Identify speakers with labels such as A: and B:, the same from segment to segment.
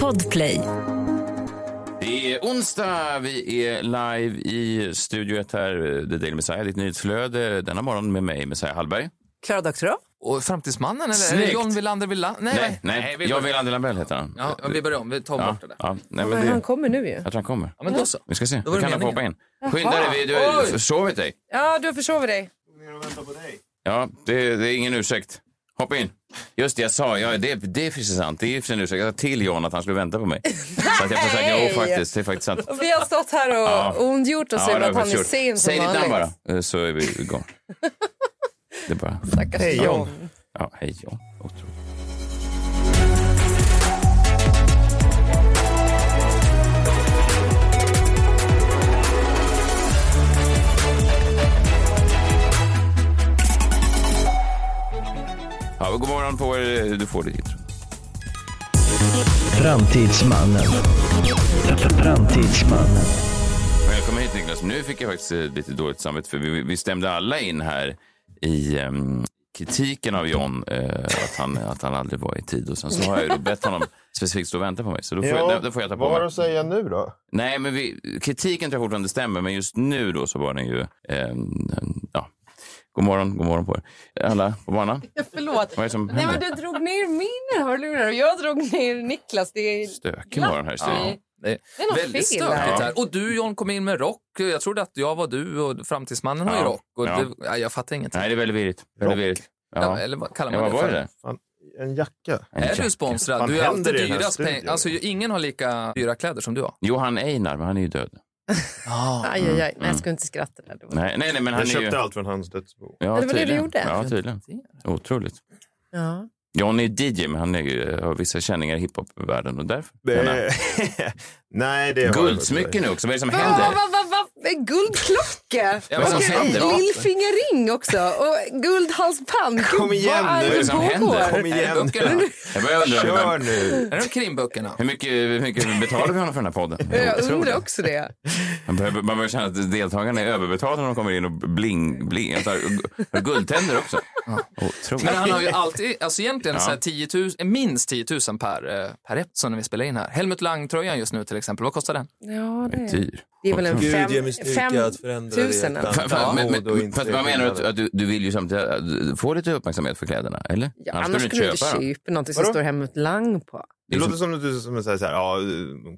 A: Podplay.
B: Det är onsdag. Vi är live i Studio 1 här, The Daily Messiah, ditt nyhetsflöde denna morgon med mig, Messiah Hallberg.
C: Klara Doktorow.
D: Och Framtidsmannen eller?
B: Snyggt.
D: Eller John Wilander Wilander?
B: Nej, nej,
D: vi
B: jag
D: börjar-
B: vill Andy Lamell heter han.
D: Ja, men vi börjar om. Vi tar bort det där.
B: ja, nej, men
C: Men han
B: det,
C: kommer nu ju.
B: jag tror han kommer.
D: Ja, men då så.
B: Vi ska se,
D: Då
B: då
D: var det
B: kan han få hoppa in.
D: meningen.
B: Skynda dig, vi- du har
D: Oj.
B: försovit dig.
C: Ja, du har försovit dig.
B: Ja, det, det är ingen ursäkt. Hoppa in. Just det, jag sa. Ja, det, det är precis sant. Det är ju en ursäkt. Jag sa till John att han skulle vänta på mig. Så att jag får säga,
C: Nej.
B: jo faktiskt, det är faktiskt sant.
C: Vi har stått här och
B: Ja.
C: ondgjort oss
B: det
C: över
B: har
C: att han
B: faktiskt
C: är
B: gjort.
C: sen som
B: Säg ditt namn
C: vanligt.
B: bara, eh, så är vi igång. det är bara...
C: Stackars John.
B: Ja, hej John. Otroligt. Ja, god morgon på er. Du får ditt intro.
E: Framtidsmannen. Framtidsmannen.
B: Välkommen hit Niklas. Nu fick jag faktiskt eh, lite dåligt samvete för vi, vi stämde alla in här i ehm, kritiken av John eh, att, han, att han aldrig var i tid. Och sen så har jag ju då bett honom specifikt stå och vänta på mig. Så då får, jag, då får jag ta på
F: vad har du
B: mig.
F: att säga nu då?
B: Nej, men vi, kritiken tror jag fortfarande stämmer, men just nu då så var den ju... ehm, ja. God morgon, god morgon på er. Alla på banan?
C: Förlåt.
B: Vad är det som
C: Nej, men
B: händer?
C: du drog ner min hörlurar och jag drog ner Niklas. Det är,
B: Stökig morgon här i studion.
C: Ja.
D: Det är,
C: det är något
D: väldigt
C: fel
D: stökigt
C: där.
D: här. Och du John kom in med rock. Jag trodde att jag var du och Framtidsmannen har ju
B: Ja,
D: rock. Och
B: ja.
D: du, ja, jag fattar ingenting.
B: Nej, det är väldigt virrigt. Väldigt
F: Rock.
B: virrigt.
D: Ja,
B: Ja.
D: eller vad kallar
B: Ja,
D: man
B: vad
D: det
B: var
D: för?
B: det? där?
F: En jacka?
B: En
D: Är
B: jacka.
D: du sponsrad?
F: Fan,
D: Du är
F: händer
D: alltid
F: det i den här
D: dyrast pengar.
F: studion?
D: Alltså, ju- ingen har lika dyra kläder som du har.
B: Johan Einar, men han är ju död.
D: Ah.
C: Aj, aj, aj.
B: Mm.
C: Nej, jag skulle inte skratta där. Det var-
B: Nej, nej, nej men han
F: Jag
B: är ju...
F: köpte allt från hans dödsbo.
B: Ja,
C: det var det du
B: tydligen.
C: gjorde?
B: Ja, tydligen. Otroligt.
C: Ja.
B: John är DJ, men han är, ju- har vissa känningar i hiphopvärlden och därför. Gärna.
F: Nej, det har jag
B: Guldsmycke nu också. Vad är det som
C: Va,
B: händer?
C: va, va, va? Guldklocka!
B: Ja, vad är det som
C: Och
B: händer?
C: Lillfingerring också. Och guldhalsband.
F: Kom
C: Gud,
F: igen
C: vad
B: Vad
C: är
F: nu.
B: är
C: det
B: det som
C: som
B: händer?
C: pågår?
F: Kom igen.
D: Är det böckerna?
B: Jag börjar undra hur,
F: Kör
B: vem-
F: nu.
D: Är det krimböckerna?
B: hur, mycket, hur mycket betalar vi honom för den här podden?
C: Jag
B: Otroligt.
C: undrar också det.
B: Man börjar, man börjar känna att deltagarna är överbetalda när de kommer in och bling, bling. Alltså, gu- guldtänder också. Otroligt.
D: Men han har ju alltid, alltså egentligen så här 10 000, minst 10 000 per, eh, per rep som när vi spelar in här. Helmut Lang-tröjan just nu till exempel, vad kostar den?
C: Ja,
B: Det är dyr.
C: Det är väl en
B: Otroligt.
C: fem, alltså. fem tusen. eller?
B: Fa- fa- men- men- Fast vad menar du? Att, att du, du vill ju samtidigt eh, få lite uppmärksamhet för kläderna, eller?
C: Ja, annars skulle du inte
B: dem.
C: köpa någonting som
F: Vadå?
C: står hemma ett lang på.
F: Det låter som att du som säger så här, ja,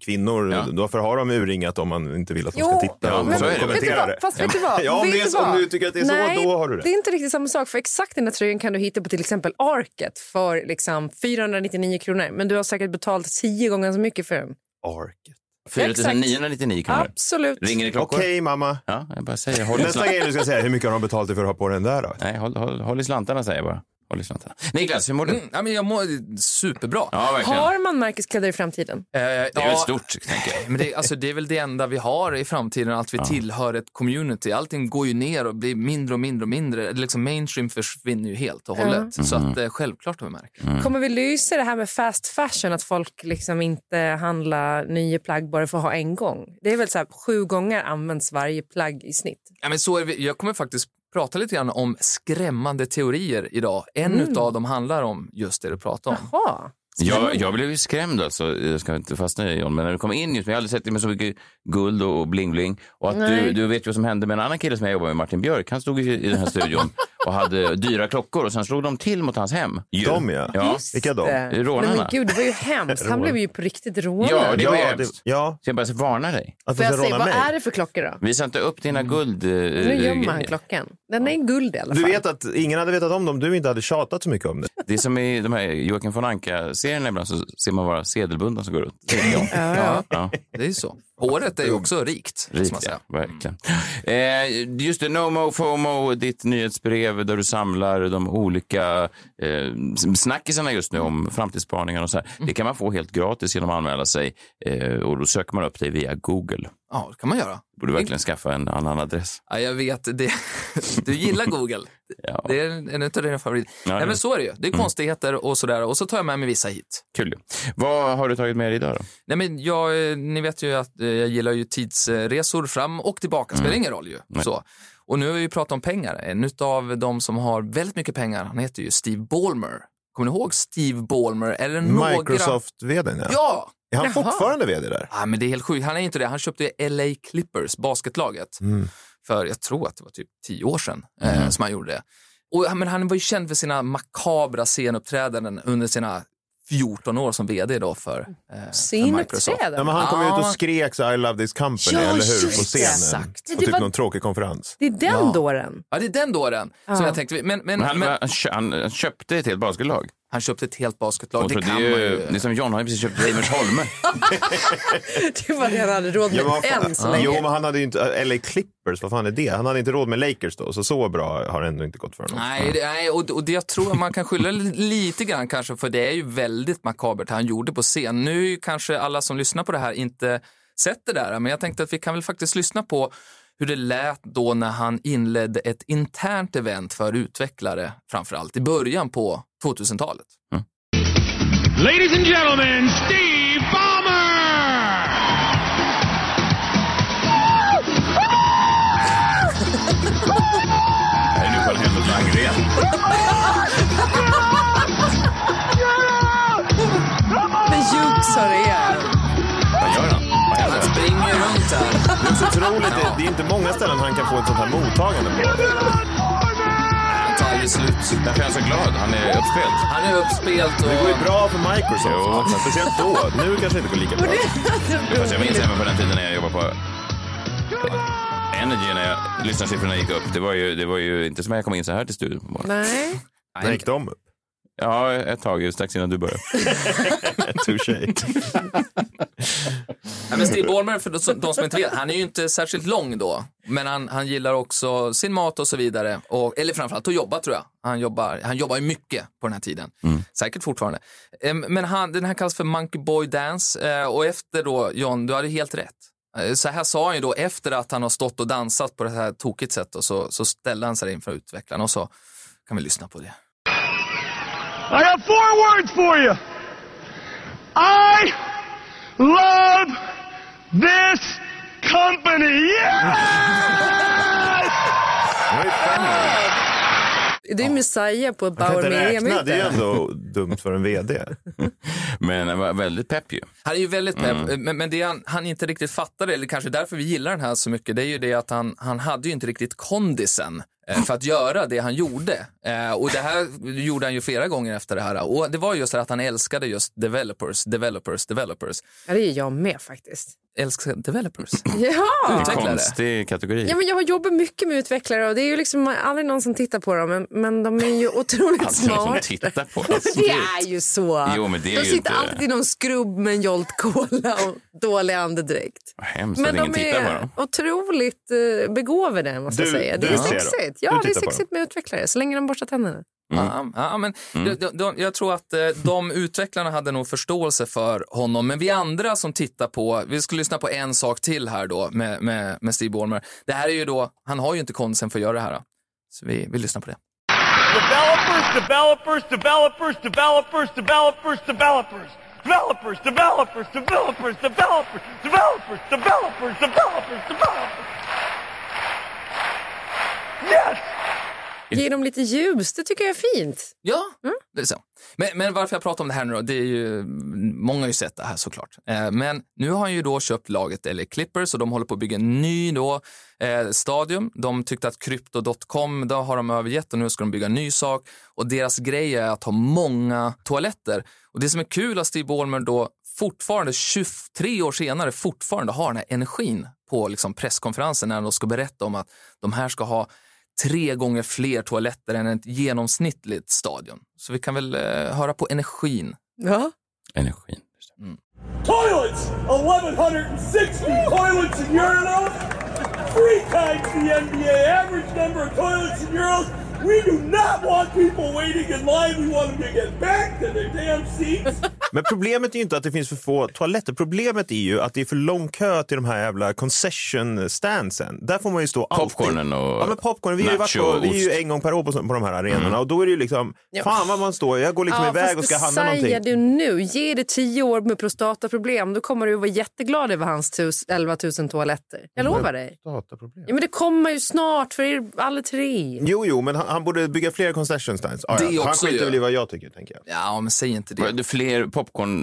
F: kvinnor,
B: Liksom- Ja.
F: varför har de urringat om man inte vill att de ska
C: Jo,
F: titta
B: ja,
F: och
B: men- vet du
F: kommentera
C: vad?
F: det?
C: Fast vet du vad?
F: Ja, om,
C: Vet
F: det
C: du
F: är, så- om
C: vad?
F: du tycker att det är så,
C: Nej,
F: då har du
C: det
F: det.
C: är inte riktigt samma sak. För exakt den här tröjan kan du hitta på till exempel Arket för liksom 499 kronor. Men du har säkert betalat tio gånger så mycket för den.
F: Mm. Arket.
B: 4 999 kronor.
C: Absolut.
B: Ringer det klockor?
F: Okej, mamma.
B: Ja, jag bara säger, håll i
F: Nästa
B: slantarna.
F: grej du ska säga, hur mycket har de betalat dig för att ha på den där då?
B: Nej, håll, håll, håll i slantarna säger jag bara. Håll i slantarna. Niklas, hur mår du?
D: Mm, ja, men jag mår superbra.
B: Ja, verkligen.
C: Har man märkeskläder i framtiden?
D: Eh,
B: Det är ju stort, tänker jag.
D: Men det, alltså, det är väl det enda vi har i framtiden, att vi tillhör ett community. Allting går ju ner och blir mindre och mindre och mindre. Liksom mainstream försvinner ju helt och hållet. Så
B: Mm-hmm.
D: att, eh, självklart har vi märkt.
B: Mm.
F: Mm.
C: Kommer vi lysa det här med fast fashion, att folk liksom inte handlar nya plagg bara för att ha en gång? Det är väl så här, sju gånger används varje plagg i snitt.
D: Ja, men så är vi, jag kommer faktiskt prata lite grann om skrämmande teorier idag. En utav dem handlar om just det du pratar om.
C: Jaha.
B: jag. Jag blev ju skrämd alltså. Jag ska inte fastna i John, men när du kom in just, men jag har aldrig sett dig med så mycket guld och bling-bling. Och att du,
C: Nej.
B: du vet ju vad som hände med en annan kille som jag jobbar med, Martin Björk. Han stod ju i den här studion och hade dyra klockor och sen slog de till mot hans hem. Ju.
F: De ja.
B: Ja,
F: Vilka då?
C: Det.
B: rånarna.
C: Nej, men gud, det var ju hemskt. Han blev ju på riktigt rånad.
B: Ja, det var ju
F: ja,
B: hemskt.
F: ja,
B: Så jag bara varnar dig.
F: att
C: Får
F: de
C: jag
F: ska
C: säga,
F: råna
C: vad
F: mig.
C: är det för klockor då?
B: Visa inte upp dina
C: Mm.
B: guld... eh,
C: Nu
B: eh,
C: gömmer han klockan. Den är i guld i alla fall.
F: Du vet att ingen hade vetat om dem, du inte hade tjatat så mycket om det.
B: Det är som i de här Joakim von Anka-serierna ibland så ser man bara sedelbundna som går runt.
C: Ja, ja.
B: Ja.
D: Det är ju så. Håret är ju också rikt. ska man
B: Rikt,
D: säga. Mm.
B: ja. Verkligen. Eh, just det, Nomo FOMO, ditt nyhetsbrev där du samlar de olika eh, snackisarna just nu om framtidsspaningar och så här.
D: Mm.
B: Det kan man få helt gratis genom att anmäla sig eh, och då söker man upp dig via Google.
D: Ja, det kan man göra.
B: Borde verkligen skaffa en annan adress.
D: Ja, jag vet, det, du gillar Google.
B: Ja.
D: Det är en av dina favoriter.
B: Ja, Mm.
D: Nej,
B: det-
D: men så är det ju. Det är konstigheter och sådär. Och så tar jag med mig vissa hit.
B: Kul. Vad har du tagit med dig idag då?
D: Nej, men jag, eh, ni vet ju att eh, jag gillar ju tidsresor fram och tillbaka. Spelar ingen roll ju. Så. Och nu har vi ju pratat om pengar. En av de som har väldigt mycket pengar, han heter ju Steve Ballmer. Kommer ni ihåg Steve Ballmer? Eller några...
F: Microsoft-vdn ja.
D: Ja,
F: Är han
C: Mm. Jaha.
F: fortfarande vd där?
D: Ah, men det är helt sjukt. Han är inte det. Han köpte ju LA Clippers, basketlaget,
F: Mm.
D: för jag tror att det var typ tio år sedan eh, som han gjorde det. Och, han- men han var ju känd för sina makabra scenuppträdanden under sina 14 år som vd då för, eh, för Microsoft.
F: Ja,
C: Synuppträdande.
F: men han kom ju ut
D: Ja.
F: och skrek så, I love this company,
C: Ja,
F: eller hur?
C: just
F: På
C: det.
F: scenen.
D: Exakt.
F: På
C: Det
F: typ
C: var-
F: någon tråkig konferens.
C: Det är den
D: Ja.
C: dåren.
D: Ja, det är den dåren som
C: Ja.
D: jag tänkte. Men, men,
B: Men han,
D: men
B: han kö- han, han köpte ett helt basketlag.
D: han köpte ett helt basketlag.
B: Och
D: Det
B: så Det,
D: kan
B: är
D: man
B: ju,
D: ju.
B: det är som John, han har ju precis köpt Reimersholme.
C: Det var det han hade råd med
F: Ja, men vad fan-
C: än så länge.
F: Jo, men han hade ju inte... LA Clippers, vad fan är det? Han hade inte råd med Lakers då, så så bra har det ändå inte gått för honom.
D: Nej, det, nej och, och det jag tror man kan skylla li- lite grann kanske för det är ju väldigt makabert han gjorde på scen. Nu kanske alla som lyssnar på det här inte sett det där, men jag tänkte att vi kan väl faktiskt lyssna på hur det lät då när han inledde ett internt event för utvecklare, framför allt i början på 2000-talet.
A: Ladies and gentlemen, Steve Ballmer!
B: Nej, nu föll händerna Angren.
C: Men ljugsar det är.
B: Vad gör han? Vad händer?
D: Springer runt här.
F: Otroligt, det, det är inte många ställen han kan få ett sånt här mottagande på.
D: Han tar ju slut.
B: Därför är han så glad. Han är uppspelt.
D: Han är uppspelt och...
F: Det går ju bra för
B: Jo.
F: Microsoft, men speciellt då. Nu kanske det inte går lika bra.
B: Fast jag minns även på den tiden när jag jobbade på Energy när jag, lyssnarsiffrorna gick upp. Det var, ju, det var ju inte som när jag kom in så här till studion på morgonen.
C: Nej.
F: När gick de upp?
B: Ja, ett tag ju, strax innan du började.
F: Touché.
D: Nej, men Steve Ballmer, för de som, de som inte vet, han är ju inte särskilt lång då. Men han, han gillar också sin mat och så vidare. Och, eller framförallt att jobba tror jag. Han jobbar, han jobbar ju mycket på den här tiden. Säkert fortfarande. Ehm, Men han, den här kallas för Monkey Boy Dance. Eh, Och efter då, John, du hade helt rätt. Eh, Så här sa han ju då, efter att han har stått och dansat på det här tokigt sättet, och så, så ställde han sig inför utvecklarna och så kan vi lyssna på det.
A: I got four words for you. I love this company. Yes!
F: Det var ju fem år.
C: Det är Messiah på ett
F: Man kan
C: Bauer
F: inte räkna, det är ju
C: Media-möte.
F: ändå dumt för en vd.
B: Men han var väldigt pepp ju.
D: Han är ju väldigt pepp, men, men det han, han inte riktigt fattade, eller kanske därför vi gillar den här så mycket, det är ju det att han, han hade ju inte riktigt kondisen eh, för att göra det han gjorde. Eh, Och det här gjorde han ju flera gånger efter det här. Och det var just det att han älskade just developers, developers, developers.
C: Ja, det är jag med faktiskt.
D: Älskade developers.
C: Ja.
D: Utvecklare.
B: Konstig kategori.
C: Ja, men jag jobbar mycket med utvecklare och det är ju liksom aldrig någon som tittar på dem, men, men de är ju otroligt
B: Alltså, någon som
C: smarta.
B: tittar på
C: Det är ju så.
B: Jo, men det är ju
C: de sitter
B: inte-
C: alltid i någon skrubb med en Jolt Cola och dålig andedräkt.
B: Vad Hemskt att
C: Men
B: ingen
C: de
B: tittar på
C: är
B: dem.
C: otroligt eh, begåvade, måste jag
F: Du-
C: säga. Det
F: du
C: är
F: ser dem.
C: sexigt.
F: Du
C: Ja, det är
F: tittar på
C: sexigt med utvecklare, så länge de borstar tänderna.
D: Ja, ja, men de, de, de, jag tror att eh, de utvecklarna hade nog förståelse för honom. Men vi andra som tittar på, vi ska lyssna på en sak till här då med, med, med Steve Ballmer. Det här är ju då, han har ju inte konsen för att göra det här. då. Så vi, vi lyssnar på det.
A: Developers, developers, developers, developers, developers, developers. Developers, developers, developers, developers, developers, developers, developers, developers. Yes!
C: Ge dem lite ljus, det tycker jag är fint.
D: Ja, det är så. Men, men varför jag pratar om det här nu då, det är ju, många har ju sett det här såklart. Eh, men nu har han ju då köpt laget LA Clippers och de håller på att bygga en ny då, eh, stadium. De tyckte att Crypto.com, då har de övergett och nu ska de bygga en ny sak. Och deras grej är att ha många toaletter. Och det som är kul att Steve Ballmer då fortfarande 23 år senare fortfarande har den här energin på liksom presskonferensen när han då ska berätta om att de här ska ha tre gånger fler toaletter än ett genomsnittligt stadion. Så vi kan väl eh, höra på energin.
C: Ja.
B: Energin.
E: Toilets! 1,160 toilets and urinals! Three times the NBA average number of toilets and urinals! We do not want people waiting in line. We want them to get back to their damn seats.
F: Men problemet är ju inte att det finns för få toaletter. Problemet är ju att det är för lång kö till de här jävla concession standsen. Där får man ju stå alltid.
B: Popcornen och
F: Ja men popcorn, vi, har ju varit på,
B: nacho,
F: vi är ju
B: ost.
F: en gång per år på, på de här arenorna
B: Mm.
F: och då är det ju liksom, fan vad man står, jag går liksom iväg och ska handla
C: säger
F: någonting.
C: du nu. Ge det tio år med prostataproblem, då kommer du vara jätteglad över hans tus, 11 000
F: Mm.
C: toaletter. Jag lovar dig.
F: Dataproblem.
C: Ja, men det kommer ju snart för er alla tre.
F: Jo, jo, men han, han borde bygga fler concession stands. Ah,
D: Det
F: ja. Han
D: också
F: skiter
D: ju.
F: väl i vad jag tycker, tänker jag.
D: Ja, men säg inte det.
B: Vad, det är Fler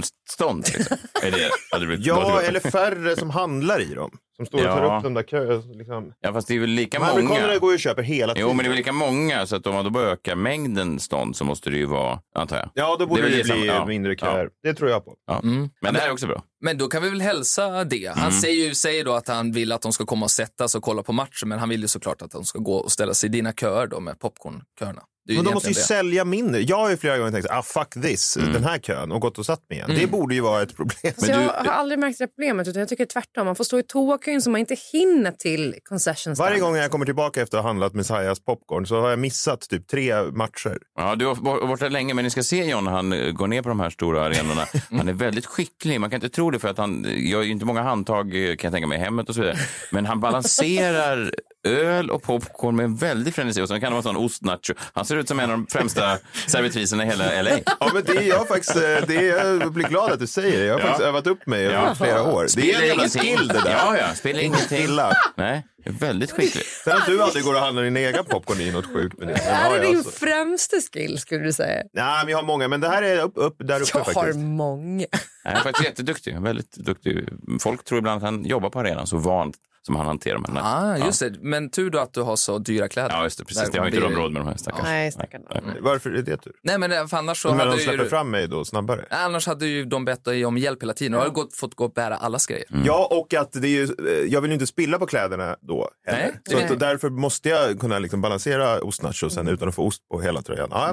B: popcornstånd? Liksom. Är det, hade det blivit-
F: Ja,
B: vad tror-
F: eller färre som handlar i dem. Som står och tar
B: Ja.
F: upp de där köerna. Liksom.
B: ja, fast det är väl lika
F: De
B: många.
F: här Amerikanerna går ju och köper hela tiden.
B: Jo, men det är väl lika många, så att om man då börjar öka mängden stånd så måste det ju vara, antar jag.
F: Ja, då borde
B: är väl
F: det,
B: som-
F: bli
B: ja,
F: mindre
B: ja,
F: köer. Det tror jag på.
B: ja. Men det här är också bra.
D: Men då kan vi väl hälsa det. Han säger ju säger då att han vill att de ska komma och sätta sig och kolla på matchen, men han vill ju såklart att de ska gå och ställa sig i dina köer då med popcornköerna. Det är
F: Men de
D: egentligen
F: måste
D: det.
F: ju sälja mindre. Jag har ju flera gånger tänkt så här, ah, fuck this, den här kön och gått och satt mig igen. Det borde ju vara ett problem.
C: Så Alltså, jag har aldrig märkt det problemet. Utan jag tycker tvärtom. Man får stå i toakön så man inte hinner till concession stand.
F: Varje gång jag kommer tillbaka efter att ha handlat Messiahs popcorn så har jag missat typ tre matcher.
B: Ja, du har varit borta länge, men ni ska se John när han eh, går ner på de här stora arenorna.
F: Mm.
B: Han är väldigt skicklig. Man kan inte tro det, för att han eh, gör ju inte många handtag eh, kan jag tänka mig, i hemmet och så vidare. Men han balanserar öl och popcorn med en väldig frenesi. Och sen kan det vara en sån ostnacho. Han ser ut som en av de främsta servitriserna i hela LA.
F: Ja, men det är jag faktiskt, eh, det är, jag blir glad att du säger det. Jag har faktiskt övat upp mig över flera år. Det är en jävla skill det där.
B: Ja, ja, spelar ingenting.
F: Gilla.
B: Nej, är väldigt skicklig.
F: Sen att du aldrig går och handlar din egen popcorn är ju något sjukt med det.
C: Det
F: Men
C: här
F: ja,
C: är
F: ja,
C: din
F: alltså.
C: främsta skill skulle du säga.
F: Nej, men jag har många, men det här är upp, upp där uppe
C: Jag
F: faktiskt.
C: har många.
B: Nej, Han är faktiskt jätteduktig. Väldigt duktig. Folk tror ibland att han jobbar på arenan så vant som han hanterar de här.
D: Ah, just det. Men tur då att du har så dyra kläder.
B: Ja, just det. Precis.
D: Där
B: Det har
D: man
B: inte
D: blir-
B: de råd med de här stackarna.
C: Nej, stackarna.
F: Varför är det tur?
D: Nej, men eh, för annars så
F: Men
D: hade
F: de
D: du
F: släpper
D: ju...
F: fram mig då snabbare.
D: Annars hade ju de bett dig om hjälp hela tiden. Du har gått, fått gå och bära allas grejer.
F: Ja, och att det är ju, eh, jag vill ju inte spilla på kläderna då heller.
D: Nej. Mm.
F: Så att, därför måste jag kunna liksom balansera ostnachosen utan att få ost på hela tröjan. Ja,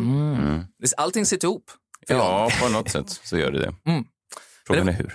D: Allting sitter ihop. för Mm. Jan.
B: Ja, på något sätt så gör det det. Frågan är hur.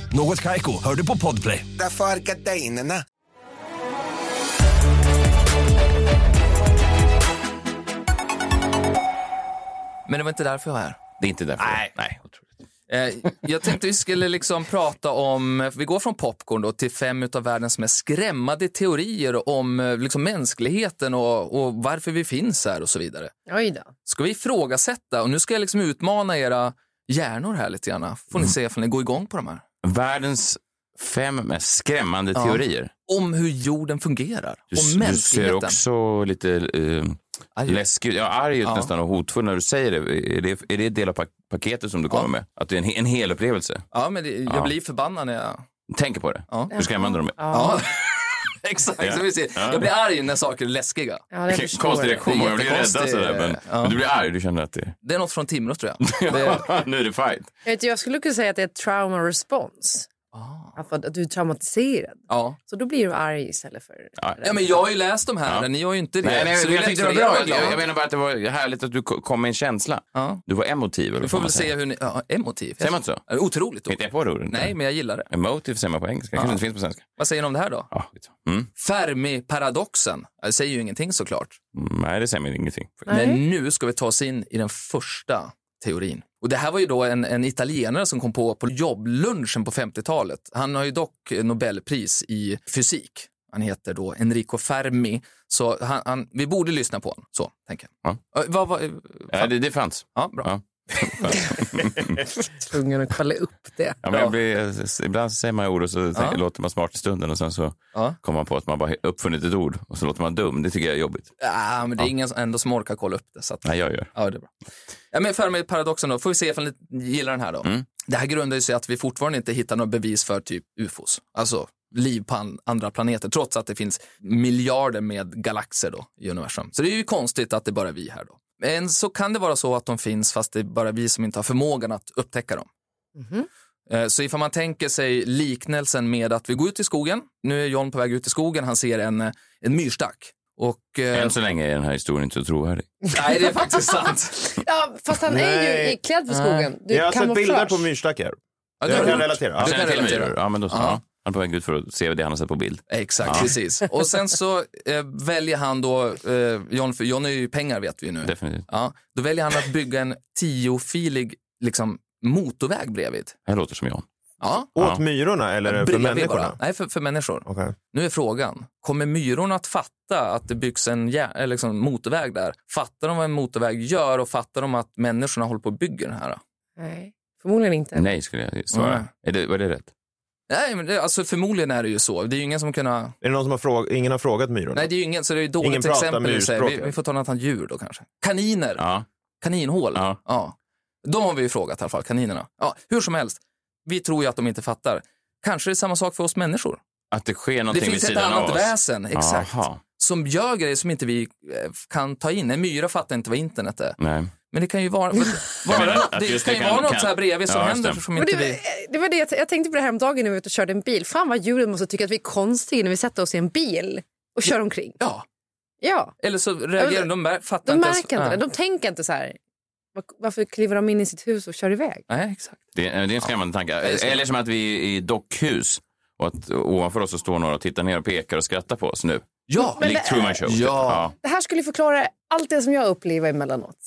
G: Något Kaiko, hör du på Podplay.
H: Därför är gardinerna.
D: Men det var inte därför jag var här.
B: Det är inte därför. Nej. Nej. otroligt.
D: Eh, jag tänkte vi skulle liksom prata om, vi går från popcorn då till fem av världens mest skrämmande teorier om eh, liksom mänskligheten och, och varför vi finns här och så vidare.
C: Oj då.
D: Ska vi ifrågasätta, och nu ska jag liksom utmana era hjärnor här lite grann. Får
B: Mm.
D: ni se ifall ni går igång på de här.
B: Världens fem mest skrämmande teorier.
D: Om hur jorden fungerar,
B: Du,
D: om
B: du ser
D: mänskligheten.
B: också lite eh,
D: Aj.
B: läskig ut. Ja, arg ut
D: Ja.
B: nästan och hotfull när du säger det. Är det, är det en del av pa- paketet som du kommer med? Att det är en, he- en hel upplevelse?
D: Ja, men det, jag blir förbannad när jag...
B: Tänk på det.
D: Ja.
B: Hur skrämmande de är.
D: Ja. Exakt,
B: Ja.
D: som vi ser. Jag blir arg när saker är läskiga.
C: Ja, det
B: Vilken
C: förstår
B: Konstig
C: jag.
B: reaktion. Jag blir rädd
D: Jättekonstig,
B: sådär. Men,
D: ja.
B: men du blir arg. Du känner att det
D: Det är något från Timrå tror jag. Det,
B: nu är det fight.
C: Jag, vet, jag skulle kunna säga att det är trauma response.
F: Ah.
C: Att, att du är traumatiserad.
D: ja.
C: Så då blir du arg istället för...
D: ja, men jag har ju läst de här,
B: Ja.
D: ni har ju inte det.
B: Nej, nej,
D: Så
B: jag,
D: det är
B: jag
D: lätt
B: tyckte det
D: för
B: var bra.
D: er att vara
B: Jag, jag
D: glad.
B: menar bara att det var härligt att du ko- kom med en känsla.
D: Ja.
B: Du var emotiv. eller
D: Vi
B: vad
D: får
B: man
D: väl
B: säger.
D: se hur ni... Ja, emotiv.
B: Säger man inte så?
D: Ja, Otroligt ord.
B: Hittar jag på det ordet?
D: Nej, men jag gillar det.
B: Emotive säger man på engelska. Det kanske inte finns på svenska.
D: Vad säger ni om det här då?
B: Ja, skit. mm.
D: Fermi-paradoxen. Det säger ju ingenting såklart.
B: Mm, Nej, det säger mig ingenting.
D: Men nu ska vi ta oss in i den första teorin. Och det här var ju då en, en italienare som kom på på jobblunchen på 50-talet. Han har ju dock Nobelpris i fysik. Han heter då Enrico Fermi. Så han, han, vi borde lyssna på honom, så tänker jag. Eh, Vad, vad,
B: Ja, det, det fanns.
D: ja, bra.
B: Ja.
C: Tvungen att kolla upp det.
B: Ja, men jag blir, ibland så säger man ord och så tänker-
D: Ja.
B: låter man smart i stunden och sen så
D: Ja.
B: kommer man på att man bara uppfunnit ett ord och så låter man dum. Det tycker jag är jobbigt.
D: Ja, Ah, men det är ingen som- ändå som orkar kolla upp det. Så att,
B: Nej, jag gör.
D: Ja, det är bra. Ja, men för mig paradoxen då, får vi se ifall ni gillar den här då.
B: Mm.
D: Det här grundar ju sig i att vi fortfarande inte hittar något bevis för typ ufos, alltså liv på an- andra planeter, trots att det finns miljarder med galaxer då i universum. Så det är ju konstigt att det bara är vi här då. Men så kan det vara så att de finns fast det är bara vi som inte har förmågan att upptäcka dem. Eh, Så ifall man tänker sig liknelsen med att vi går ut i skogen, nu är John på väg ut i skogen, han ser en, eh, en myrstack. Och, eh,
B: Än så länge är den här historien inte så trovärdig.
D: nej, det är faktiskt sant.
C: Ja, fast han är ju
F: Nej. Ah.
C: i- klädd för skogen. Du,
F: jag har sett
C: kamouflage.
F: bilder på myrstackar.
D: Ja, det
F: Jag
D: har
F: kan
D: du gjort.
F: relatera.
D: Du
B: Känner
D: kan
B: till
D: relatera.
B: myror? Ja, men då så.
D: Ja.
B: Ja. Han är på väg ut för att se det han har sett på bild.
D: Exakt, precis. Och sen så eh, väljer han då, eh, John, för John är ju pengar vet vi ju nu.
B: Definitivt.
D: Ja, då väljer han att bygga en tiofilig liksom, motorväg bredvid.
B: Det här låter som jag.
D: Ja,
F: Åt myrorna eller för
D: bredvid
F: människorna?
D: bara. Nej, för, för människor.
F: Okej.
D: Nu är frågan, kommer myrorna att fatta att det byggs en jär, eller liksom motorväg där? Fattar de vad en motorväg gör och fattar de att människorna håller på och bygger den här?
C: Nej, förmodligen inte.
B: Nej, skulle jag svara.
D: Mm.
B: Är det, var det rätt?
D: Nej, men det, alltså förmodligen är det ju så. Det är ju ingen som kunnat...
F: Är det någon som har frågat? Ingen har frågat myrorna?
D: Nej, det är ju ingen, så det är ju dåligt
F: Ingen pratar
D: exempel. i sig. Vi,
F: myrspråk.
D: vi får ta något annat djur då kanske. Kaniner!
B: Ja.
D: Kaninhål.
B: Ja.
D: De har vi ju frågat i alla fall, kaninerna. Ja, hur som helst, vi tror ju att de inte fattar. Kanske det är samma sak för oss människor.
B: Att det sker
D: Det
B: någonting vid
D: finns ett
B: sidan av
D: annat
B: oss.
D: väsen, exakt,
B: Jaha.
D: som gör grejer som inte vi eh, kan ta in. En myra fattar inte vad internet är.
B: Nej.
D: Men det kan ju vara, vad, vad,
B: menar, att
D: det,
B: just
D: kan
B: det
D: ju
B: kan-
D: vara något
B: kan-
D: så här bredvid som
B: Ja, just
D: händer
B: det. eh,
D: som
C: Men
D: inte
C: det,
D: vi...
C: var- det var det jag, jag tänkte på det här om dagen när vi var ute och körde en bil. Fan vad djuren måste tycka att vi är konstiga när vi sätter oss i en bil och kör omkring.
D: Ja,
C: Ja,
D: eller så reagerar de, de mär- fattar
C: de
D: inte ens-
C: märker inte det.
D: Ja.
C: De tänker inte så här. "Var- Varför kliver de in i sitt hus och kör iväg?
D: Nej, exakt.
B: Det, är- det är en skrämmande tanke.
D: det är
B: Eller som att vi är i dockhus och att ovanför oss så står några och tittar ner och pekar och skrattar på oss nu.
D: Ja,
B: Likt Truman Show. typ.
D: Ja.
C: Det här skulle förklara allt det som jag upplever emellanåt.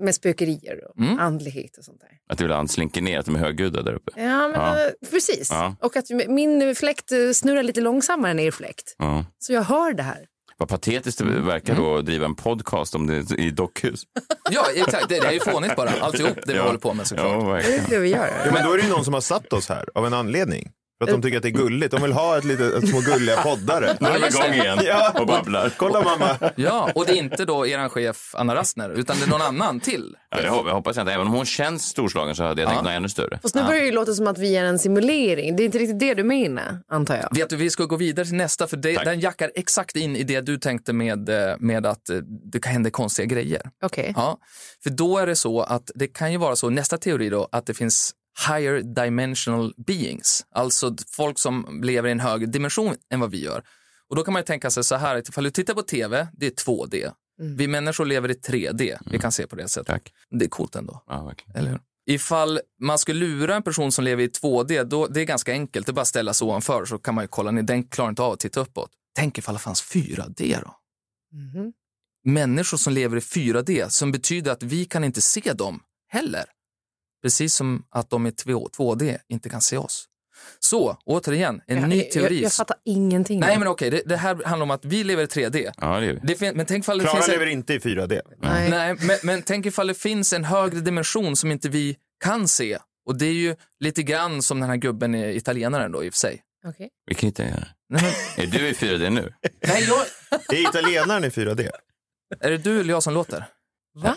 C: Med spökerier och andlighet och sånt där.
B: Att du ibland slinker ner, att de är högljudda där uppe.
C: Ja, men
B: Ja.
C: eh, precis.
B: Ja.
C: Och att min fläkt eh, snurrar lite långsammare än er fläkt.
B: Ja.
C: Så jag hör det här.
B: Vad patetiskt det
D: Mm.
B: verkar då att driva en podcast om det i dockhus.
D: ja, exakt. Det, det är ju fånigt bara, alltihop det vi
B: Ja.
D: håller på med såklart.
B: Ja,
C: Det
B: verkligen.
C: är det vi gör.
F: Ja, men då är det ju någon som har satt oss här av en anledning. För att
D: Eh.
F: de tycker att det är gulligt. De vill ha ett litet, små gulliga poddare.
B: Nu är de igång igen
F: Ja.
B: och babblar.
F: Kolla mamma.
D: Ja, och det är inte då eran chef Anna Rastner, utan det är någon annan till.
B: Ja, det hop- jag hoppas jag inte. Även om hon känns storslagen så hade jag tänkt något ännu större.
C: Fast nu börjar det ju låta som att vi är en simulering. Det är inte riktigt det du menar, antar jag.
D: Vet du, vi ska gå vidare till nästa, för det,
B: Tack.
D: den jackar exakt in i det du tänkte med, eh, med att eh, det kan hända konstiga grejer.
C: Okej.
D: Ja, för då är det så att det kan ju vara så, nästa teori då, att det finns higher dimensional beings, alltså d- folk som lever i en högre dimension än vad vi gör. Och då kan man ju tänka sig så här, att ifall du tittar på tv, det är 2D. Vi människor lever i 3D, vi kan se på det sättet.
B: Tack.
D: Det är coolt ändå.
B: Ja, verkligen.
D: Eller hur? Ifall man skulle lura en person som lever i 2D, då, det är ganska enkelt. Det är bara att ställa sig ovanför så kan man ju kolla ner. Den klarar inte av att titta uppåt. Tänk ifall det fanns 4D då?
C: Mhm.
D: Människor som lever i 4D, som betyder att vi kan inte se dem heller. Precis som att de i 2- 2D inte kan se oss. Så, återigen, en
C: Jag-
D: ny
C: jag-
D: teori.
C: Jag, jag fattar ingenting.
D: Nej, men okej, det, det här handlar om att vi lever i 3D.
B: Ja, det gör vi.
D: Det fin- men tänk ifall det
F: Klara
D: finns... en-
F: lever inte i 4D.
C: Nej.
D: Nej, men, men tänk ifall det finns en högre dimension som inte vi kan se. Och det är ju lite grann som den här gubben är italienaren då i och för sig.
C: Okej.
B: Vi kan inte göra
D: Nej, men,
B: det. Är du i 4D nu?
D: nej jag,
F: Är italienaren i 4D?
D: är det du eller jag som låter?
C: Va?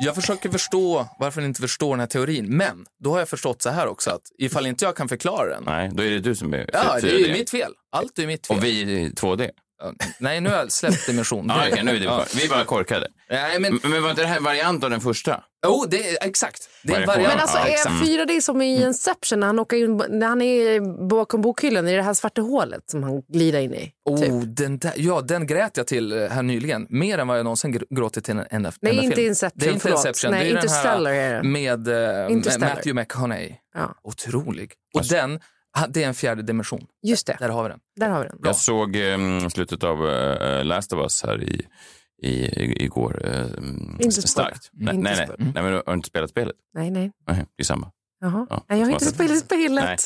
D: Jag försöker förstå varför ni inte förstår den här teorin, men då har jag förstått så här också att ifall inte jag kan förklara den,
B: Nej, då är det du som är 4D.
D: ja, det är ju mitt fel. Allt är ju mitt fel.
B: Och vi är i 2D.
D: Ja, Nej, nu har jag släppt dimension.
B: Ja, okej, nu är det
D: Ja.
B: Vi är bara korkade.
D: Nej, men,
B: Men, men var inte det här en variant av den första?
D: oh, det är, exakt. Det är en
B: Variation.
D: variant.
C: Men alltså,
B: Ja,
C: är
B: exakt. Mm.
C: 4D som i Inception när han, åker in, när han är bakom bokhyllan i det här svarta hålet som han glider in i?
D: Oh,
C: typ.
D: den där, ja, den grät jag till eh, här nyligen. Mer än vad jag någonsin gr- gråtit till en enda,
C: Nej,
D: enda
C: inte
D: film.
C: Inception,
D: Det är inte
C: förlåt.
D: Inception.
C: Nej,
D: det är ju
C: Interstellar
D: den här
C: är det.
D: Med eh,
C: Interstellar.
D: Matthew McConaughey.
C: Ja.
D: Otrolig. Och den, ha- det är en fjärde dimension.
C: Just det,
D: Där har vi den.
C: där har vi den.
B: ehm, Jag såg eh, slutet av eh, Last of Us här i, i, i, igår. eh, mm,
C: Inte spoila.
B: starkt. Nej,
C: Inte
B: nej,
C: Mm.
B: nej.
C: spoila.
B: nej, men du har inte spelat spelet?
C: Nej, nej.
B: Nej, det är samma.
C: Jaha.
B: Ja,
C: nej jag har
B: smart.
C: inte spelat spelet.
B: Nej.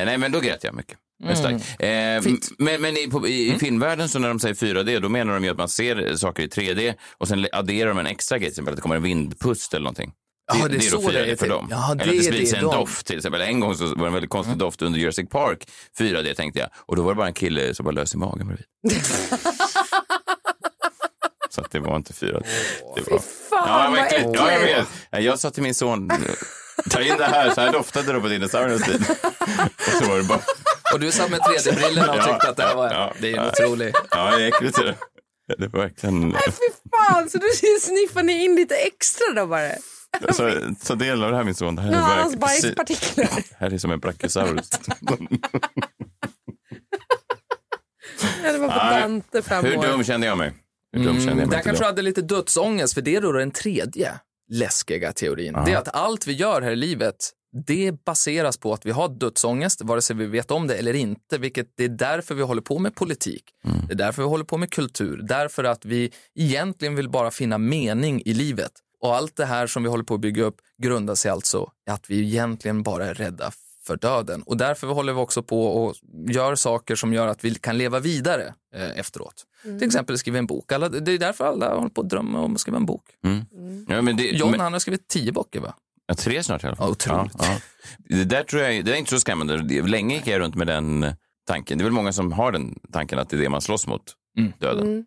B: Eh, nej, men då grät jag mycket. Det är
C: Mm.
B: starkt. Eh, m- men men i, på,
D: Mm.
B: i i filmvärlden så när de säger 4D då menar de ju att man ser eh, saker i 3D och sen le- adderar de en extra grej, till exempel att det kommer en vindpust eller någonting.
D: Ja, det är så det är
B: för
D: till-
B: dem.
D: Ja, det
B: eller att det
D: är Mm.
B: sprids
D: det
B: en
D: de-
B: doft till exempel. En gång så var det en väldigt konstig doft under Jurassic Park 4D tänkte jag och då var det bara en kille som var lös i magen bredvid. så att det var inte 4D. Det var...
C: Fan,
B: Ja,
C: vad
B: vad äckligt. Ja, jag
C: äckligt.
B: vet. Nej, Jag sa till min son, ta in det här, så här doftade det på dinosauriernas tid. Och så var det bara...
D: Och du satt med 3D-brillorna och tyckte att det här var- det är en otrolig-
B: Ja, det är äckligt. är det. Ja, Det var verkligen...
C: Fan, så du sniffar ni in lite extra då bara? alltså,
B: Så, ta del av det här min son. Det här
C: Nu har
B: är,
C: hans
B: verkligen-
C: bajspartiklar.
B: Det här är som en brachiosaurus.
C: Ja, det var på
B: Nej.
C: Dante fem
B: Hur
C: år.
B: dum kände jag mig? Hur dum kände jag
D: Där
B: mig?
D: kanske du hade lite dödsångest, för det är då den tredje läskiga teorin. Det är att allt vi gör här i livet, det baseras på att vi har dödsångest, vare sig vi vet om det eller inte, vilket det är därför vi håller på med politik. Det är därför vi håller på med kultur, därför att vi egentligen vill bara finna mening i livet. Och allt det här som vi håller på att bygga upp grundar sig alltså i att vi egentligen bara är rädda för döden. Och därför håller vi också på och gör saker som gör att vi kan leva vidare eh, efteråt. Till exempel skriva en bok. Alla, det är därför alla håller på att drömma om att skriva en bok.
B: Mm. Ja, men det,
D: John
B: men-
D: han har skrivit tio böcker va?
B: Ja, tre snart i alla fall. otroligt. Ja, ja. Det där tror jag det är inte så skrämmande. Det- Länge gick jag runt med den tanken. Det är väl många som har den tanken att det är det man slåss mot, döden.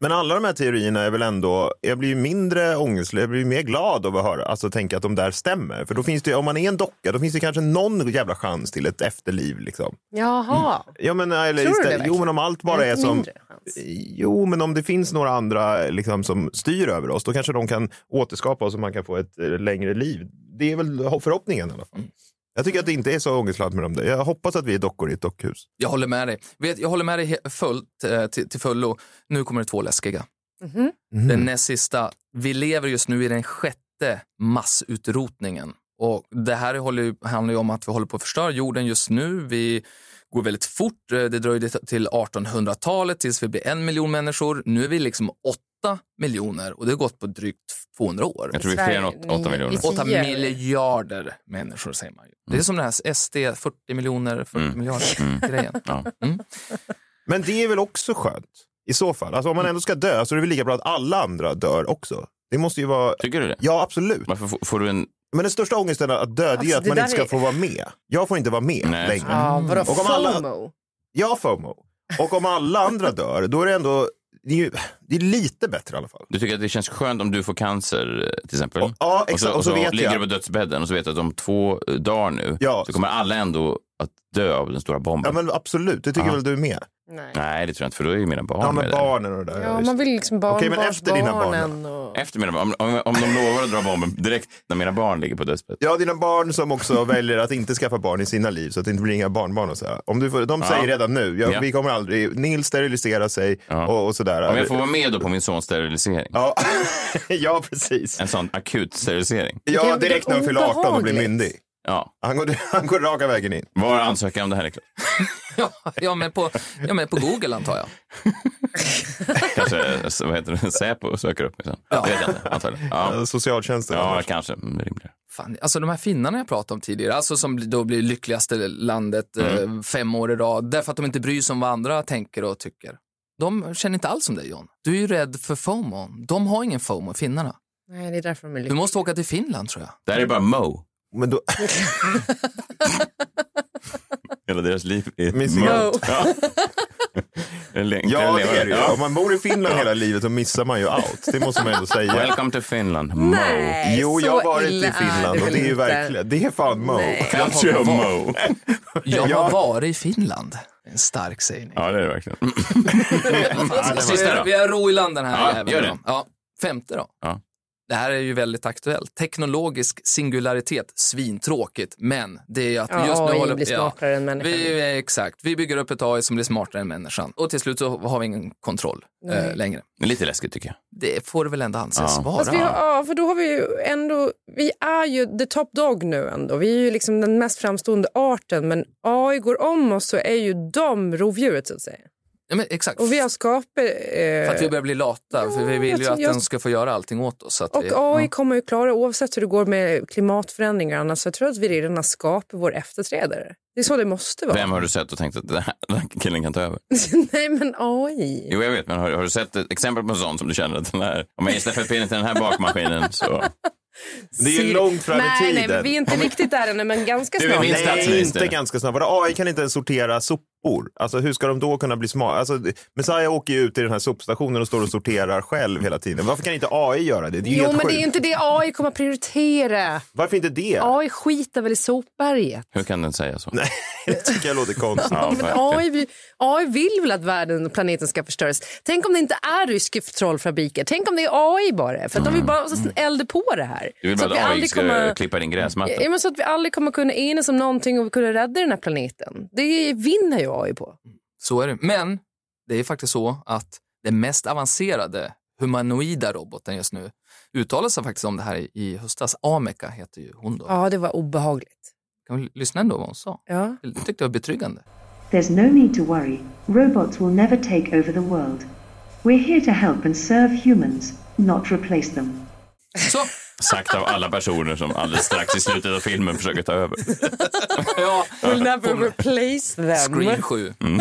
F: Men alla de här teorierna är väl ändå, jag blir ju mindre ångestlig, jag blir ju mer glad av att höra, alltså tänka att de där stämmer. För då finns det, om man är en docka, då finns det kanske någon jävla chans till ett efterliv liksom.
C: Jaha.
B: Mm.
F: Ja, men, eller
C: Tror du det
F: istället,
C: verkligen?
F: jo, men om allt bara
C: Det är
F: är som...
C: mindre
F: Jo, men om det finns några andra liksom, som styr över oss, då kanske de kan återskapa oss och man kan få ett eh, längre liv. Det är väl förhoppningen i alla
C: Mm.
F: fall. Jag tycker att det inte är så ångestladdat med dem där. Jag hoppas att vi är dockor i ett dockhus.
D: Jag håller med dig. Vet, jag håller med dig he- fullt, eh, till, till fullo. Nu kommer det två läskiga.
C: Mhm.
D: Den näst sista. Vi lever just nu i den sjätte massutrotningen. Och det här håller, ju- handlar ju om att vi håller på att förstöra jorden just nu. Vi går väldigt fort. Eh, Det dröjde t- till 1800-talet tills vi blir en miljon människor. Nu är vi liksom åtta miljoner och det har gått på drygt 200 år.
B: Jag tror vi är fler än åt- åtta miljoner.
D: Åtta miljarder människor säger man ju. Det är som den här SD 40 miljoner, 40 miljarder
B: Mm,
D: grejen.
F: Men det är väl också skönt i så fall. Alltså, om man ändå ska dö så är det väl lika bra att alla andra dör också. Det måste ju vara...
B: Tycker du det?
F: Ja, absolut.
B: Varför får, får du en...
F: Men den största ångesten att dö, det är ju
C: Alltså,
F: att
C: det
F: man
C: där
F: inte ska
C: är-
F: få vara med. Jag får inte vara med längre.
C: Ja, vadå
F: Och om alla...
C: FOMO?
F: Ja, FOMO. Och om alla andra dör, då är det ändå... Det är, ju... det är lite bättre i alla fall.
B: Du tycker att det känns skönt om du får cancer eh, till exempel?
F: ja,
B: och så,
F: exakt.
B: och så,
F: vet
B: ligger
F: jag.
B: du på dödsbädden och så vet du att om två eh, dagar nu så kommer alla ändå att dö av den stora bomben.
F: Ja, men absolut. Det tycker
B: Ja.
F: väl du med?
C: Nej.
B: Nej, det tror jag inte, för då är ju mina barn
F: Ja,
B: med
F: men
B: där.
F: barnen och det där.
C: Ja, man vill liksom barn,
F: Okej, men
C: barn,
F: efter dina barn,
C: barnen och...
B: Efter mina barn, om, om, om de lovar att dra bomben direkt när mina barn ligger på dödsbädden.
F: Ja, dina barn som också väljer att inte skaffa barn i sina liv så att det inte blir inga barnbarn och så här. Om du får, de
B: Ja.
F: säger redan nu, jag,
B: Ja.
F: vi kommer aldrig, Nils steriliserar sig och, och sådär.
B: Om jag får vara med då på min sons sterilisering.
F: Ja, ja precis.
B: En sån akut sterilisering.
F: Ja, direkt när han fyller 18 och blir myndig.
B: Ja.
F: Han går, han går raka vägen in.
B: Var ansökan om det här är klart?
D: Ja, men på, ja, men på Google antar jag.
B: Kanske så- vad heter det? Säpo söker upp mig sen. Ja. Det vet jag inte, antagligen. Ja.
F: Socialtjänsten.
B: Ja, kanske. Mm, Rimligare.
D: Fan, alltså de här finnarna jag pratade om tidigare, alltså som då blir lyckligaste landet
B: Mm.
D: eh, fem år i rad, därför att de inte bryr sig om vad andra tänker och tycker. De känner inte alls som dig John. Du är ju rädd för FOMO. De har ingen FOMO, finnarna.
C: Nej, det är därför de är
D: Du måste åka till Finland tror jag.
B: Det här är bara Mo.
F: Men då...
B: Hela deras liv är
F: Miss
B: Mo.
F: Mo.
B: Ja. Den lä-
F: Ja,
B: den
F: det
B: lever.
F: är det ju.
B: Ja.
F: Om man bor i Finland hela livet så missar man ju allt. Det måste man ändå säga.
B: Welcome to Finland, Mo.
F: Nej, jo, jag har
D: så
F: varit
D: illa
F: i
D: är
F: Finland
D: det
F: och
D: väl
F: det är ju
D: inte.
F: verkligen, det är fan Mo.
D: Jag har,
B: Mo.
D: jag
F: Ja.
D: har varit i Finland. En stark sägning.
B: Ja, det är det verkligen.
D: Sista då. Vi har ro i land den här
B: Ja,
D: jäveln
B: gör
D: då.
B: det.
D: Ja, femte då.
B: Ja.
D: Det här är ju väldigt aktuellt. Teknologisk singularitet, svintråkigt, men det är ju att vi
C: Ja,
D: just nu
C: AI
D: håller
C: blir smartare än människan.
D: Vi, exakt, vi bygger upp ett AI som blir smartare än människan och till slut så har vi ingen kontroll eh,
C: Nej.
D: längre.
B: Men lite läskigt tycker jag.
D: Det får det väl ändå anses
B: Ja.
D: vara.
C: Fast vi har, ja, för då har vi ju ändå, vi är ju the top dog nu ändå. Vi är ju liksom den mest framstående arten, men AI går om oss så är ju de rovdjuret så att säga.
D: Ja, men exakt.
C: Och vi har skapat...
D: För
C: Eh,
D: att vi börjar bli lata, för vi vill
C: jag
D: ju
C: tror
D: att
C: jag-
D: den ska få göra allting åt oss. Så att
C: och
D: vi,
C: AI kommer ju klara oavsett hur det går med klimatförändringar och annat. Så jag tror att vi redan har skapat vår efterträdare. Det är så det måste vara.
B: Vem har du sett och tänkt att den här, den här killen kan ta över?
C: Nej, men AI.
B: Jo, jag vet, men har, har du sett ett exempel på en sån som du känner att den här, om jag ställer pinnen till den här bakmaskinen så...
F: Det är ju
B: Alltså,
F: långt fram i
C: nej, nej,
F: tiden.
C: men vi är inte riktigt där ännu, men ganska snart.
F: Nej, inte ganska snabbt. Vadå, AI kan inte ens sortera sopor. Alltså, hur ska de då kunna bli smarta? Alltså, det- Messiah åker ju ut i den här sopstationen och står och sorterar själv hela tiden. Varför kan inte AI göra det? Det är ju
C: Jo,
F: helt
C: men det är
F: sjukt.
C: ju inte det AI kommer att prioritera.
F: Varför inte det?
C: AI skiter väl i sopberget.
B: Hur kan den säga så?
F: Nej, det tycker jag låter konstigt.
C: Ja, men AI, vi- AI vill väl att världen och planeten ska förstöras. Tänk om det inte är ryska trollfabriker. Tänk om det är AI bara. För att de vill bara elda på det här.
B: Du vill
C: så att
B: bara
C: vi
B: att AI
C: aldrig
B: ska
C: kommer...
B: klippa din gräsmatta?
C: Ja, men så att vi aldrig kommer kunna enas om någonting och kunna rädda den här planeten. Det vinner ju AI på.
D: Så är det. Men det är faktiskt så att den mest avancerade humanoida roboten just nu uttalar sig faktiskt om det här i, i höstas. Ameka heter ju hon då.
C: Ja, det var obehagligt.
D: Kan vi lyssna ändå vad hon sa?
C: Ja.
D: Det tyckte jag var betryggande.
I: There's no need to worry. Robots will never take over the world. We're here to help and serve humans, not replace them.
B: Sagt av alla personer som alldeles strax i slutet av filmen försöker ta över.
D: ja,
C: We'll never replace them.
B: Scream
D: 7.
B: Mm.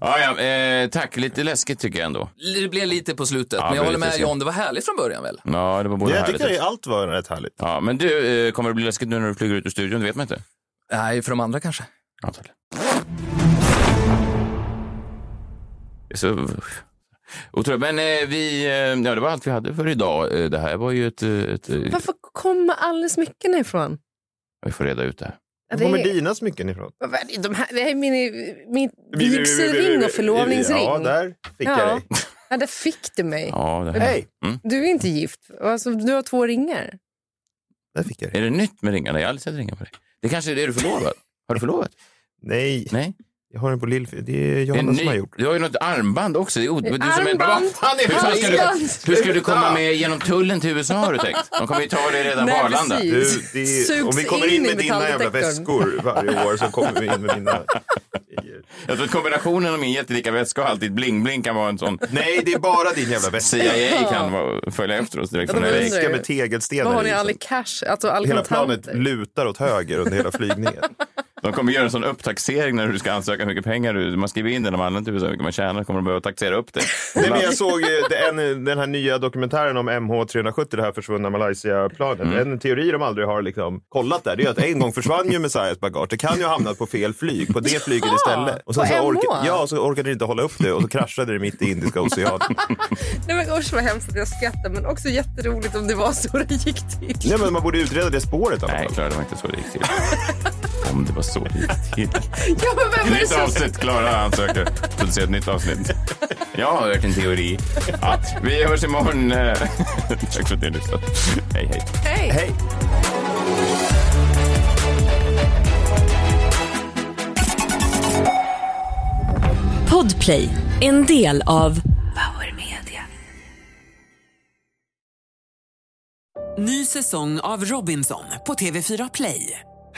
B: ja, ja, eh, tack, lite läskigt tycker jag ändå.
D: Det blev lite på slutet,
B: Ja,
D: men jag
B: det
D: håller
B: blev
D: med
B: lite så.
D: John, det var härligt från början väl?
B: Ja, det var både
D: Jag
B: härligt.
D: tyckte det-
F: Allt var rätt härligt.
B: Ja, men du, eh, kommer det bli läskigt nu när du flyger ut ur studion? Det vet man inte.
D: Nej, för de andra kanske.
B: Antagligen. Det är Så... Otroligt. Men eh, vi, eh, ja, det var allt vi hade för idag. Eh, Det här var ju ett... eh, ett eh,
C: Varför kommer alldeles mycket ifrån?
B: vi får reda ut det här.
C: Ja, det är- Var kommer
F: dina smycken ifrån?
C: Vad är det- De här, det här är min, min vigselring och förlovningsring.
F: Ja, där fick jag dig.
C: Ja, där fick du mig.
B: Ja, det här.
C: Hej. Du är inte gift. Alltså, du har två ringar.
B: Är det nytt med ringarna? Jag har aldrig sett ringar på dig. Det kanske är det du förlovad? Har du förlovat?
F: Nej.
B: Nej.
F: Jag har den på Lillfjärd. Det är
B: Det är
F: Johanna som
B: ny-
F: har gjort.
B: Du har ju något armband också. Det är o- du som är-
F: Armband!
B: Vad fan är- Hur fan ska
F: Armband!
B: du- hur ska du komma med genom tullen till USA har du tänkt? De kommer ju ta dig redan på
F: Nej,
B: Arlanda.
F: precis. Du, det är- Sugs om vi kommer in in i med dina jävla metalldetektorn. väskor varje år så kommer vi in med mina.
B: Jag tror att kombinationen av min jättelika väska och alltid bling-bling kan vara en sån.
F: Nej, det är bara din jävla väska.
B: CIA kan vara- följa efter oss direkt
C: Ja,
B: från
C: de
B: LA.
C: undrar ju. Väska med
F: tegelstenar liksom-
C: Vad har ni all cash? Alltså, all
F: Hela
C: kontant?
F: planet lutar åt höger under hela flygningen.
B: De kommer göra en sån upptaxering när du ska ansöka hur mycket pengar du... Man skriver in det när man anländer till USA, hur mycket man tjänar. kommer de behöva taxera upp det.
F: Nej, men jag såg eh, det, en, den här nya dokumentären om MH370, det här försvunna Malaysia-planet. En teori de aldrig har liksom kollat där, det är ju att en gång försvann ju Messiahs bagage. Det kan ju ha hamnat på fel flyg, på det flyget istället. Och sen
C: på
F: så,
C: MH?
F: ja, så orkade det inte hålla upp det och så kraschade det mitt i Indiska oceanen.
C: Nej, men usch vad hemskt att jag skrattar, men också jätteroligt om det var så det gick till.
F: Nej, men man borde utreda det spåret i alla
B: Nej, klar, det var inte så det gick till. Om det var så det gick till.
C: Ja, men vem är det
B: Nytt
C: som...
B: avsnitt, Klara ansöker. Producera ett nytt avsnitt. Jag har hört en teori. Ja, vi hörs imorgon. Eh, Tack för att ni har lyssnat. Hej, hej.
C: Hej!
F: Hej!
J: Podplay, en del av
K: Power Media.
L: Ny säsong av Robinson på TV4 Play.